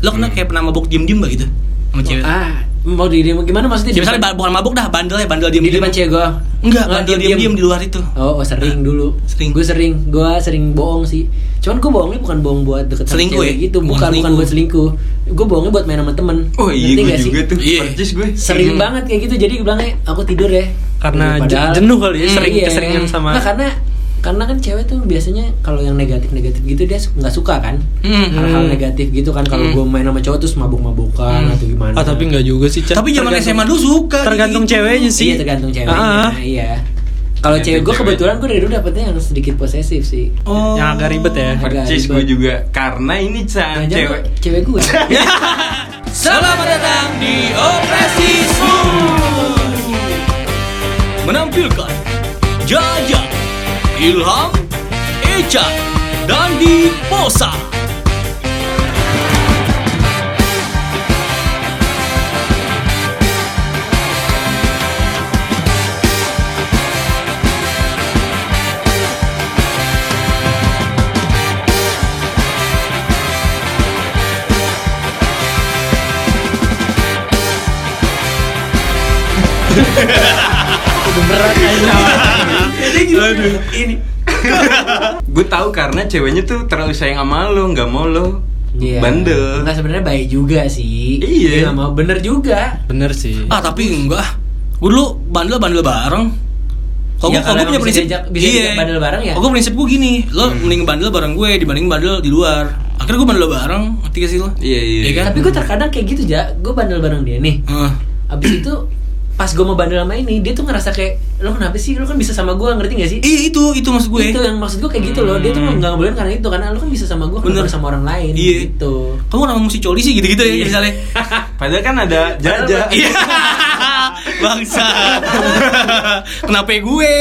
Lo Hmm. kena kayak pernah mabuk diem-diem gak gitu? Sama cewek? ah mau di gimana maksudnya Ya, misalnya ba- bukan mabuk dah, bandel ya, bandel di diem-diem depan cewek gue Enggak, bandel diem-diem di luar itu Oh, oh, sering dulu. Sering. Gue sering. Gue sering bohong sih. Cuman gue bohongnya bukan bohong buat deket sama Selingkuh cewek ya? gitu. Bukan Bukan bukan selingkuh. buat selingkuh. Gue bohongnya buat main sama temen. Oh Ngerti iya gue nggak sih? juga Hmm. tuh Iya. percis gue Sering Mhm. banget kayak gitu. Jadi gue bilangnya aku tidur ya. Karena Tidur, je- jenuh kali ya, Hmm, sering- keseringan sama- Nggak, karena karena kan cewek tuh biasanya kalau yang negatif-negatif gitu dia su- nggak suka kan Hmm. hal-hal negatif gitu kan kalau Hmm. gue main sama cowok terus mabuk-mabukan atau gimana Ah tapi nggak juga sih. Chan. Tapi zaman SMA Tergantung- dulu suka gitu. Tergantung gitu-gitu. ceweknya sih. Iya tergantung ceweknya. Ah, ah. Iya. Kalau Tergantung cewek gue cewek. kebetulan gue dari dulu dapetnya yang sedikit posesif sih. Oh. Yang agak ribet ya. percis Agak gue ribet. juga karena ini Chan Jangan-jangan cewek Cewek gue. Selamat datang di Operasi Smooth. Menampilkan Jaja, Ilham, Eca, dan Diposa. Berat aja. Ini. gue tahu karena ceweknya tuh terlalu sayang sama lo nggak mau lo Iya. bandel Nggak sebenarnya baik juga sih. Iya. Dia nggak mau bener juga. Bener sih. Ah Iya, tapi enggak. Gue dulu bandel-bandel bareng. Kok gue Ya, kalau punya bisa prinsip iya. diajak- bisa diajak bandel bareng ya? Kok Hmm. gue prinsip gue gini, lo mending bandel bareng gue dibanding bandel di luar. Akhirnya gue bandel bareng, ngerti gak sih lo? Iya, iya. Iya kan? Tapi gue terkadang kayak gitu ja. Gue bandel bareng dia nih. Heeh. Hmm. Abis itu pas gue mau bandel sama ini dia tuh ngerasa kayak lo kenapa sih lo kan bisa sama gue ngerti gak sih? Iya itu, itu maksud gue. Hmm. Itu yang maksud gue kayak gitu loh. Dia tuh nggak ngebolehin karena itu karena lo kan bisa sama gue Bener. kenapa harus sama orang lain Iya. gitu. Kamu nama musik coli sih gitu-gitu Iya. ya misalnya. padahal kan ada jaja Iya. Bangsa. Kenapa ya gue?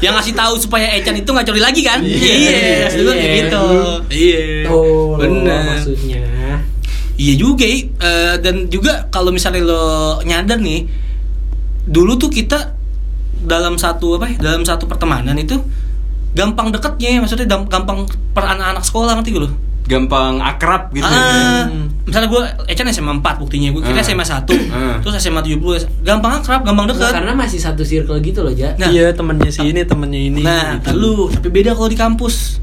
yang ngasih tahu supaya Echan itu nggak coli lagi kan? Iya. Maksud gue kayak Iya. gitu. Iya. Oh, Bener. maksudnya. Iya juga, I. Eh, dan juga kalau misalnya lo nyadar nih, dulu tuh kita dalam satu apa? ya, Dalam satu pertemanan itu gampang deketnya, maksudnya dam- gampang per anak-anak sekolah nanti gue loh. gampang akrab gitu Ah, misalnya eh, gue Echan SMA 4 buktinya gue kira Ah. SMA 1 Ah. terus SMA 70 gampang akrab gampang Nggak, deket Nah, karena masih satu circle gitu loh, Ja. Nah. Iya temennya si ini temennya ini. nah gitu. lu tapi beda kalau di kampus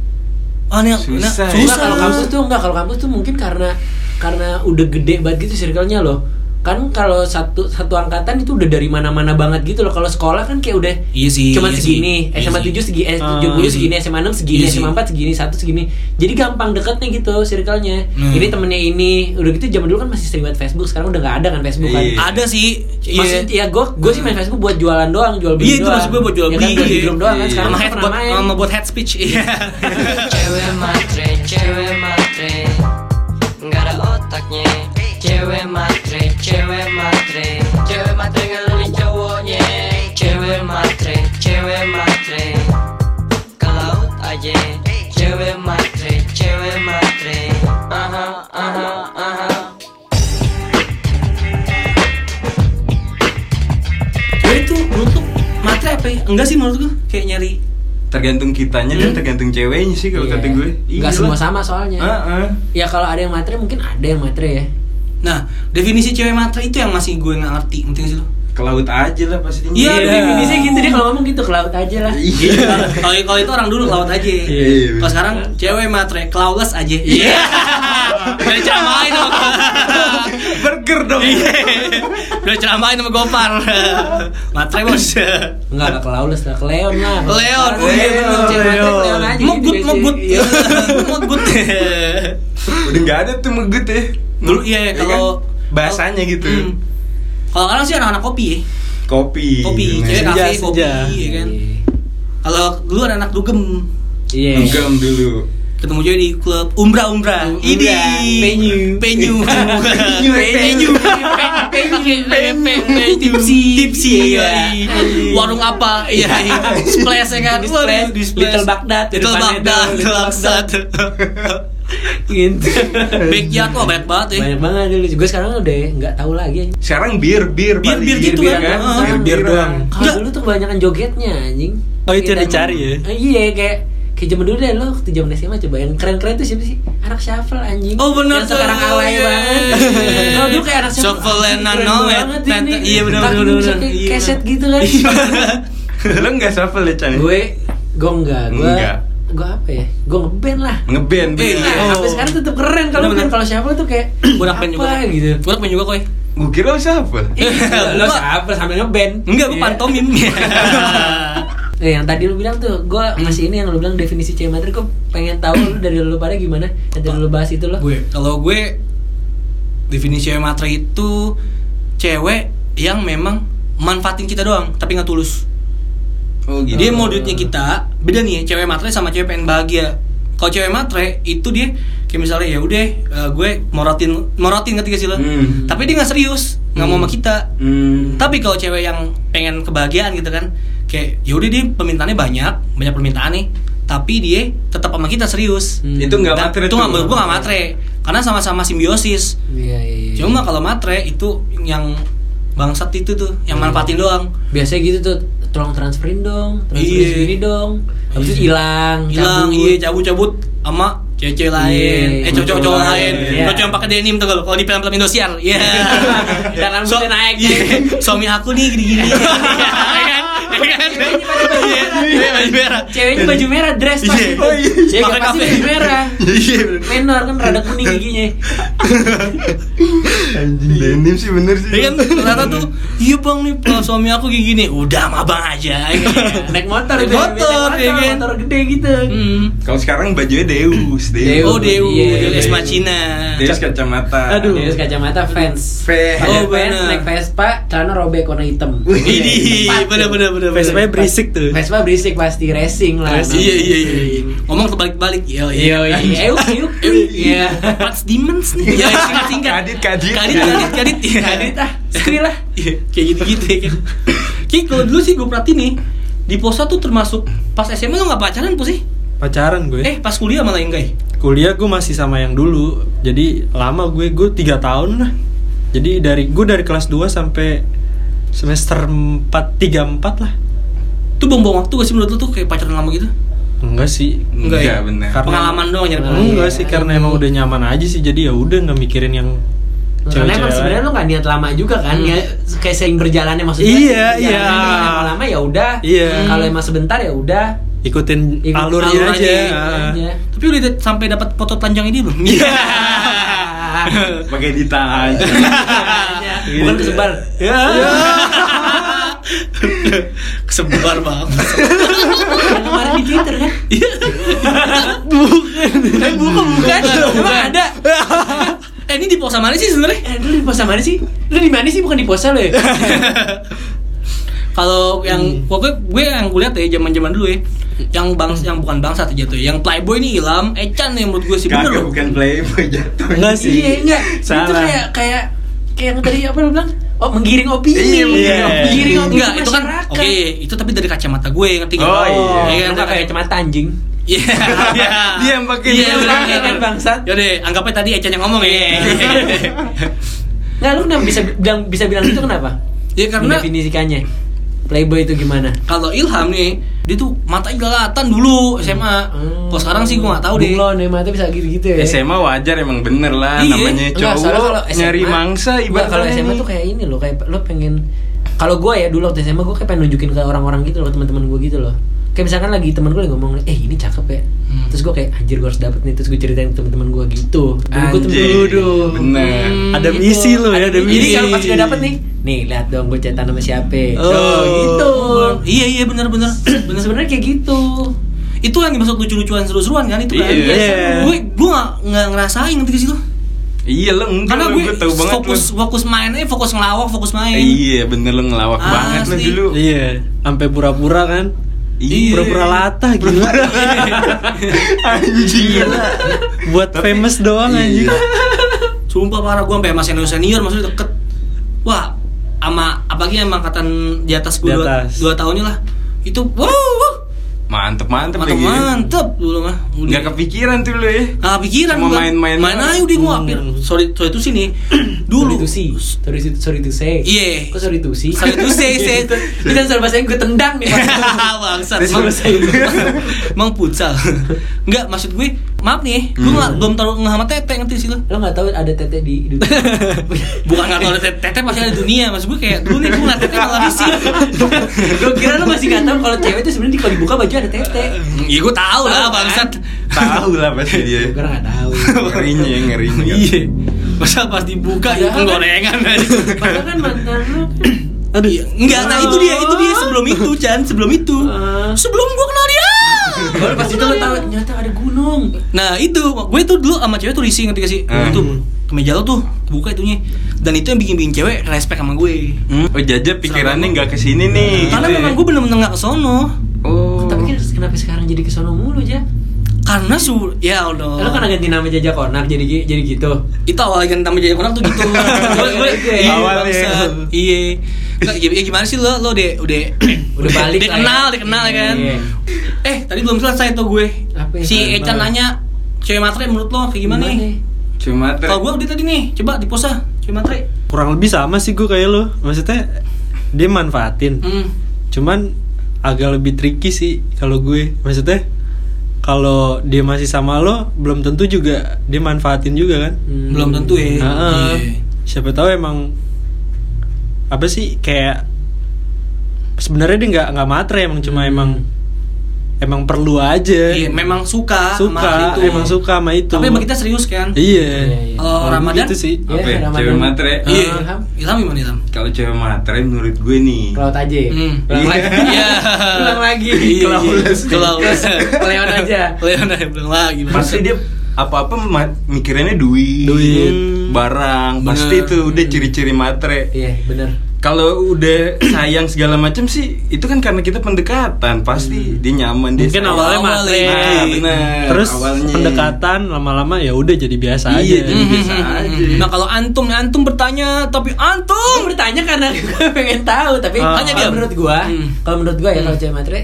ah, nih, nah, Susah ya. Enggak susah Iya, kalau kampus tuh enggak kalau kampus tuh mungkin karena karena udah gede banget gitu circle-nya loh. Kan kalau satu satu angkatan itu udah dari mana-mana banget gitu loh. Kalau sekolah kan kayak udah iya sih cuman iya sih, segini, iya SMA sih. 7 segini, eh, Ah, 70 iya sih. segini, SMA 6 segini, Iya sih. SMA 4 segini, 1 segini. Jadi gampang deketnya gitu circle-nya. Hmm. Ini temennya ini, udah gitu zaman dulu kan masih sering banget Facebook, sekarang udah nggak ada kan Facebook kan. Iya. ada sih iya Maksudnya ya gue gue sih main Facebook buat jualan doang, jual beli Iya itu doang. maksud gue buat jual Ya beli kan, jual beli iya. doang kan Iya. sekarang sama kan head pernah buat, main. sama buat head speech iya Cewek matre, cewek matre Nggak ada otaknya Cewek matre, cewek matre Cewek matre ngeluhin cowoknya Cewek matre, cewek matre Ke laut aja Cewek matre, cewek matre Aha, aha, aha gue itu menurut lu, matre apa ya enggak sih menurut gue kayak nyari tergantung kitanya dan tergantung ceweknya sih kalau Iya. kata gue Nggak semua Ah, sama soalnya. Heeh. Ya kalau ada yang matre mungkin ada yang matre ya. nah definisi cewek matre itu yang masih gue nggak ngerti penting sih lo ke laut aja lah pastinya Iya, Iya, definisi definisinya gitu dia kalau ngomong gitu ke laut aja lah. iya kalau kalau itu orang dulu laut aja Iya. kalau sekarang cewek matre clawless aja iya udah ceramain sama Iya. burger dong udah ceramain sama Gopar matre bos Enggak, enggak ke laut lah, ke Leon lah. Leon, oh iya bener, Leon, cewek Leon, matre, Leon aja. Megut, gitu, megut, Iya. megut. udah nggak ada tuh megut ya Dulu iya kan? kalau bahasanya gitu Hmm. Kalau sekarang sih anak-anak kopi ya. kopi Nah, Kopi, cewek Senja, kafe, kopi, senja. ya kan. Kalau dulu anak-anak dugem Iya. Genggam dulu ketemu cewek di klub Umbra Umbra. Umbra, Ini penyu. penyu, penyu, Penyu, penyu, penyu, penyu, tipsi, tipsi, iya. warung apa, iya, splash ya kan, Waduh, Displash, displash. Little Baghdad, Little depannya itu, Baghdad, Little bangsat. Gitu. Backyard wah banyak banget ya. Banyak banget dulu. Gue sekarang udah enggak tahu lagi anjing. sekarang bir bir Bir, paling. iya bir gitu Iya Bir, kan? Heeh. bir bir doang Kalau Nggak. dulu tuh kebanyakan jogetnya anjing. Oh, itu yang Kayak dicari ya? Eh, Iya kayak Kayak zaman dulu deh lo waktu zaman SMA coba yang keren-keren tuh siapa sih? Anak shuffle anjing. Oh, benar Yang tuh. sekarang alay Iya, banget. iya, iya. Kalau dulu kayak anak Shuffle anjing, and keren Anoet, banget ini. Tante- iya, benar, Tapi benar, bisa benar. kayak Iya, Keset benar. gitu kan. Lo nggak shuffle ya, Chan? gue gue enggak, gue Enggak. gue apa ya? Gue ngeband lah. ngeband. Eh, bener. iya. Nah, Oh. sampai sekarang tetap keren kalau Benar, kan benar. kalau shuffle tuh kayak Budak pen juga. apa gitu. Eh, Gue main juga koy. Gue kira lo shuffle. Ih, lo Gua- shuffle sambil ngeband. Enggak, gue Iya. pantomim. Eh, yang tadi lu bilang tuh, gue ngasih ini yang lu bilang definisi cewek materi, gue pengen tahu lu dari lu pada gimana, yang tadi lu bahas itu lo. gue kalau gue definisi cewek matre itu cewek yang memang manfaatin kita doang tapi nggak tulus Oh gitu. dia modutnya kita beda nih ya, cewek matre sama cewek pengen bahagia kalau cewek matre itu dia kayak misalnya ya udah eh, gue morotin morotin ketika sih lo Hmm. tapi dia nggak serius nggak mau sama kita Hmm. tapi kalau cewek yang pengen kebahagiaan gitu kan kayak ya udah dia permintaannya banyak banyak permintaan nih tapi dia tetap sama kita serius Hmm. itu nggak Dan matre itu tuh. nggak gue nggak matre karena sama-sama simbiosis Iya, iya. Cuma kalau matre itu yang bangsat itu tuh, yang manfaatin doang. biasanya gitu tuh, tolong transferin dong, transferin Iya. sini dong. Habis itu Iya. hilang, Hilang, cabut. iya cabut-cabut sama cewek-cewek lain, Iya, eh cowok-cowok cowok lain. lain, iya. Cowok yang pakai denim tuh kalau kalau di film-film Indosiar. Iya. Dan rambutnya naik. iya. Suami aku nih gini-gini. Iya kan? Iya kan? Iya, iya, baju merah. Ceweknya baju merah dress Iya. pasti. Oh, iya. Cewek Pakai pasti kafe. baju merah. Iya. Menor kan rada kuning giginya. Anjing denim sih bener sih. Iya kan ternyata tuh iya bang nih Pak, suami aku kayak gini udah sama abang aja ya kan? Naik motor Naik itu. ya, motor, naik iya kan? motor gede gitu. Hmm. Kalau sekarang bajunya Deus, oh Deus. Deus Iya, Deus Deus. Macina Deus kacamata. Aduh. Terus kacamata fans. Fans. Ada Oh, fans bener. naik Vespa, celana robek warna hitam. Ini bener-bener bener. Iya, Vespa berisik tuh. Vespa berisik pasti racing lah. Iya iya iya. iya. Ngomong kebalik-balik. Iya Iya, iya. Euk, euk, euk. Iya. What's demons nih? Iya singkat-singkat. Kadit, kadit. Kadit kadit kadit. Iya. Kadit ah, skril lah. Iya, Kayak gitu-gitu ya kan. Kayak kalau dulu sih gue perhatiin nih di posa tuh termasuk pas SMA lo nggak pacaran pun sih? Pacaran gue. Eh pas kuliah malah enggak ya? Kuliah gue masih sama yang dulu. Jadi lama gue gue 3 tahun lah. Jadi dari gue dari kelas 2 sampai semester 4 3 4 lah. Itu buang-buang waktu gak sih menurut lo tuh kayak pacaran lama gitu? Enggak sih. Enggak ya? Enggak bener. Karena- Pengalaman doang nyari Nah, pengalaman. Enggak iya. sih karena emang udah nyaman aja sih. Jadi ya udah nggak mikirin yang Karena emang cewek-cewek sebenarnya lain. lo gak niat lama juga kan, Hmm. ya kayak sering berjalannya maksudnya. Iya, berjalannya iya. doang, yang Lama-lama ya udah. Iya. Kalau emang sebentar ya udah. ikutin Ikut alurnya alur aja. aja. Ah. Iya. Tapi udah dat- sampai dapat foto telanjang ini belum? Iya. Pakai ditanya. Bukan kesebar. Ya. Ya. Iya. Kesebar banget. Yang kemarin di Twitter kan? Iya. bukan. Eh, bukan, bukan. Emang ada. eh ini di pos mana sih sebenarnya? Eh, lu di posa mana sih? Lu di mana sih? Bukan di posa lo ya? Kalau yang pokoknya gue yang gue lihat ya zaman-zaman dulu ya, yang bangs yang bukan bangsa tuh jatuh, ya. yang playboy ini hilang, Ecan nih menurut gue sih bener Kagak loh. bukan playboy jatuh. Enggak sih. Iya, enggak. Itu Salah. kayak kayak kayak yang tadi apa lu bilang? Oh, menggiring opini. Iya, menggiring opini. Menggiring opini Enggak, itu kan masyarakat. oke, itu tapi dari kacamata gue ngerti nggak? Oh, iya. Ya, Iya, kan, enggak kayak kayak- kacamata anjing. Iya. Dia yang pakai Iya, dia Iya. bener, yang bener. pakai, bangsat. Yaudah, anggapnya tadi Ecan yang ngomong ya. Nah, lu kenapa bisa bilang bisa bilang gitu kenapa? Ya karena definisikannya playboy itu gimana? kalau Ilham nih, dia tuh matanya galatan dulu SMA. Hmm. Kalau sekarang sih gue nggak tahu deh. Bunglon ya, mata bisa gitu-gitu ya. SMA wajar emang bener lah Iya. namanya Enggak, cowok soalnya kalau SMA nyari mangsa Enggak, ibaratnya kalau SMA tuh kayak ini loh, kayak lo pengen kalau gue ya dulu waktu SMA gue kayak pengen nunjukin ke orang-orang gitu loh teman-teman gue gitu loh kayak misalkan lagi temen gue lagi ngomong eh ini cakep ya Hmm. terus gue kayak anjir gue harus dapet nih terus gue ceritain ke teman-teman gue gitu dulu gue temen Anjing, dulu. bener Hmm. Ada misi lo ya, ada jadi misi. kalau pas udah dapet nih nih lihat dong gue cetan sama siapa Oh. Tuh, gitu Iya iya benar-benar. bener sebenarnya kayak gitu itu yang dimaksud lucu-lucuan seru-seruan kan itu kan. Iya. Iya. Gue gue nggak nggak ngerasain ngerti ke situ. iya lo enggak Karena lo, gue tahu banget lo. fokus fokus main aja, fokus ngelawak, fokus main. iya bener lo ngelawak Asli. banget lo dulu Iya, sampai pura-pura kan. Iya. Pura-pura latah gila. anjing Buat Tapi- famous doang anjing. Iya. Sumpah parah gue sampai sama senior senior maksudnya deket. Wah, sama apalagi sama angkatan di atas gue Di dua, atas. dua tahunnya lah. Itu wow, wow. mantep mantep mantep mantep dulu mah Udah. nggak kepikiran tuh lu ya Nggak kepikiran Cuma gua. main-main main doang. aja udah gua hampir Hmm. sorry sorry itu sini dulu Sorry to see. Sorry to, sorry to say. Iya. Kok sorry to see? Sorry to say, say. Kita sorry bahasanya gue tendang nih. Bangsat, Terus emang- selesai dulu. Emang futsal Enggak, maksud gue Maaf nih, gue nggak- belum terlalu ngehamat tete ngerti sih lo Lo gak tahu ada tete di dunia. Bukan nggak tahu ada tete, tete pasti ada di dunia Maksud gue kayak, dulu nih gue ngeliat tete malah misi Gue kira lo masih gak tahu kalau cewek itu sebenarnya di- kalau dibuka baju ada tete. Ya gue tau lah Tahu kan? bangsat tahu lah pasti dia Gue gak tahu. ngerinya ya, ngerinya Iya Masa pas dibuka ya Padahal kan- penggorengan aja Padahal kan mantan lo kan Aduh, enggak, nah itu dia, itu dia sebelum itu, Chan, sebelum itu. Ah. Sebelum gua kenal dia. Baru pas itu lo tahu ternyata ada gunung. Nah, itu gue tuh dulu sama cewek tuh risih ngerti gak sih? Hmm. Itu kemeja lo tuh, buka itunya. Dan itu yang bikin-bikin cewek respect sama gue. Hmm, oh jaja pikirannya nggak kesini nih Karena gitu ya. memang gue bener-bener gak kesono oh Tapi kan kenapa sekarang jadi kesono mulu aja? Karena su... Ya Allah Oh. Lo kan ganti nama Jaja Konak jadi gi- jadi gitu. Itu awal yang nama jadi konak tuh gitu Gua- gua- Itu ya, Iya awalnya. bangsat. Iya Nggak, ya- ya gimana sih lo, lo udah udah Udah balik udah lah ya. kenal, udah kenal ya kan. Iya. Eh tadi belum selesai tuh gue. Apa ya? Si Apaan? Echan nanya cewek matre menurut lo kayak gimana? nih? cuma ter- Kalau gue udah tadi nih, coba diposa cewek matre. kurang lebih sama sih gue kayak lo maksudnya dia manfaatin Hmm. cuman agak lebih tricky sih kalau gue maksudnya kalau dia masih sama lo belum tentu juga dia manfaatin juga kan Hmm. Belum tentu ya. Heeh. Iya. siapa tahu emang apa sih kayak sebenarnya dia nggak nggak matre emang cuma Hmm. emang emang perlu aja Iya, memang suka, sama hal itu. suka emang suka sama itu Tapi emang kita serius kan? iya Iya, iya. Kalau Kurang Ramadan? gitu sih apa Iya, ya, Ramadan. cewek matre Ah. Iya. Ilham. Ilham gimana Ilham? kalau cewek matre menurut gue nih Laut aja. ya? Hmm. Ulang lagi. Iya. Ulang lagi. Iya, Kelaules. iya. Kelaules. Leon aja. Leon aja bilang lagi. pasti dia apa-apa ma- mikirannya duit, Duit. barang, Bener. pasti itu udah ciri-ciri matre. Iya, bener. Kalau udah sayang segala macam sih, itu kan karena kita pendekatan, pasti dia nyaman dia. mungkin sayang. awalnya Awalnya. matre Nah, bener. terus Awalnya. pendekatan lama-lama ya udah jadi biasa aja Hmm, Iya, jadi biasa aja. Nah kalau antum antum bertanya tapi Gue antum bertanya karena gue pengen tahu, tapi Ah. hanya dia menurut gua. Hmm. Kalau menurut gua ya Hmm. kalau cewek matre,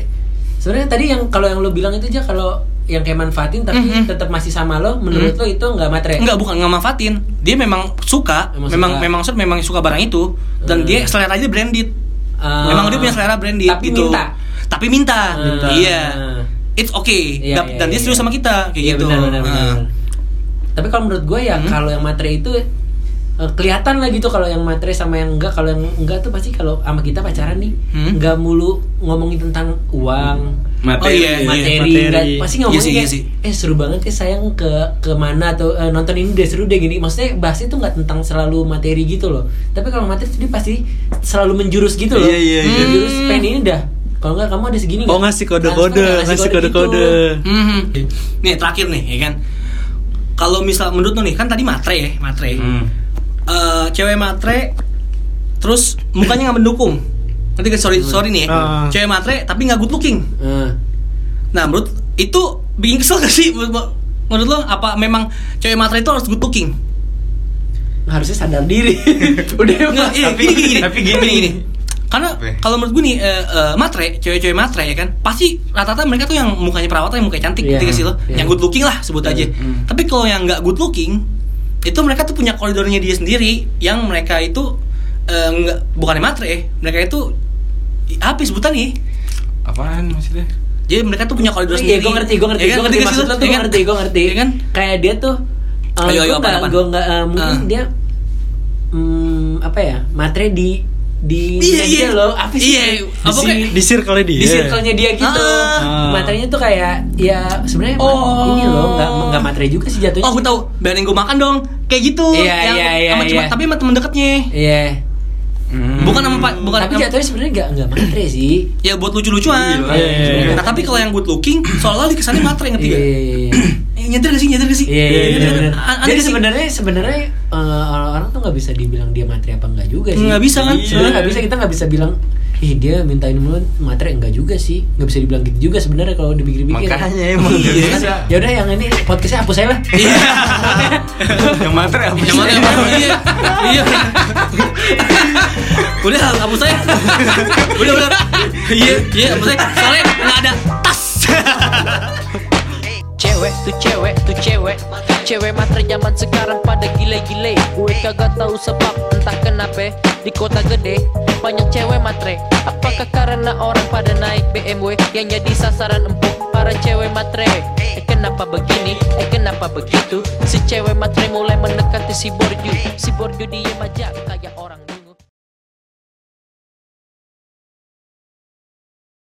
sebenarnya tadi yang kalau yang lo bilang itu aja kalau yang kayak manfaatin tapi Mhm. tetap masih sama lo, menurut Mhm. lo itu nggak matre? nggak bukan nggak manfaatin dia memang suka Emang memang suka. memang maksud memang suka barang itu dan Hmm. dia selera aja branded Ah. memang dia punya selera branded Tapi gitu. minta. tapi minta, Minta. iya Ah. it's okay Iya, Dan- iya, dan dia iya, serius iya. sama kita kayak Iya, gitu benar, benar, Nah. benar. Tapi kalau menurut gue ya Hmm. kalau yang matre itu eh, kelihatan lah gitu kalau yang matre sama yang enggak kalau yang enggak tuh pasti kalau sama kita pacaran nih Hmm. enggak mulu ngomongin tentang uang oh Materi. iya, iya. materi, materi. nggak- pasti ngomongin Iya sih, kayak, iya sih. eh seru banget ya sayang ke ke mana atau eh, nonton ini deh seru deh gini maksudnya bahas itu nggak tentang selalu materi gitu loh tapi kalau materi itu dia pasti selalu menjurus gitu loh Iya, iya, iya. menjurus Hmm. pengen ini dah kalau enggak kamu ada segini nggak? Oh, ngasih kode-kode, Transfer, ngasih ngasih kode-kode kode-kode. gitu. Mhm. nih terakhir nih ya kan kalau misal menurut lo nih kan tadi matre ya matre Hmm. Eh, cewek matre terus mukanya nggak mendukung nanti sorry sorry nih ya. Ah. cewek matre tapi nggak good looking Eh. Nah, menurut itu bikin kesel gak sih menurut, menurut lo? Apa memang cewek matre itu harus good looking? harusnya sadar diri udah Nggak, iya, Tapi- tapi gini. Karena Apa ya? kalau menurut gue nih eh, eh, matre, cewek-cewek matre ya kan, pasti rata-rata mereka tuh yang mukanya perawatan, yang mukanya cantik, Iya. gitu sih lo, Iya. yang good looking lah sebut Iya. aja. Hmm. Tapi kalau yang nggak good looking, itu mereka tuh punya koridornya dia sendiri, yang mereka itu eh, nggak bukannya matre, eh, mereka itu apa ya sebutannya? Apaan maksudnya? Jadi mereka tuh punya koridor Iya, sendiri. gue ngerti, gue ngerti, Ya kan? gue ngerti nggak sih maksud lo? lo tuh Ya gue kan? ngerti, gue ngerti. Ya kan? Kayak dia tuh, eh, Ayo, ayo, gue apa, nggak, apa? gue nggak, eh, mungkin Ah. dia, hmm, apa ya, matre di Iya, di ini iya. aja loh, apa sih? Iya, di, Apa si- kayak- Iya. di circle dia Di circle-nya dia gitu. Ah. Materinya tuh kayak ya sebenarnya mat- Oh. ini loh, nggak nggak matre juga sih jatuhnya. Oh gue tau, bayarin gue makan dong Kayak gitu Iya, Yang iya, iya, sama cuma- iya. Tapi sama temen deketnya Iya. Bukan sama pak bukan Tapi sama- jatuhnya sebenarnya nggak nggak matre sih. Ya buat lucu-lucuan Iya, iya, iya. Nah tapi kalau yang good looking Seolah-olah dikesannya matre ngerti Iya. gak? Eh, Nyetir gak sih? Nyetir gak sih? Iya, iya, Nyetir iya, gak? bener. A- aneh gak Jadi sih? sebenarnya sebenarnya eh, orang-orang tuh nggak bisa dibilang dia materi apa enggak juga sih. Nggak bisa kan? Sebenarnya nggak bisa kita nggak bisa bilang ih dia mintain mulu materi enggak juga sih. Nggak bisa dibilang gitu juga sebenarnya kalau dipikir-pikir. Makanya emang nggak Iya, kan? bisa. Ya udah yang ini podcastnya hapus saya lah. Iya yang matre apa? Yang mana yang mana Iya Iya Udah hapus saya Udah udah Iya Iya hapus saya Soalnya nggak ada tas Cewek tuh cewek tuh cewek Cewek matre zaman sekarang pada gile-gile Gue kagak tahu sebab entah kenapa Di kota gede banyak cewek matre Apakah karena orang pada naik BMW Yang jadi sasaran empuk para cewek matre Eh kenapa begini, eh kenapa begitu Si cewek matre mulai mendekati si borju Si borju dia majak kayak orang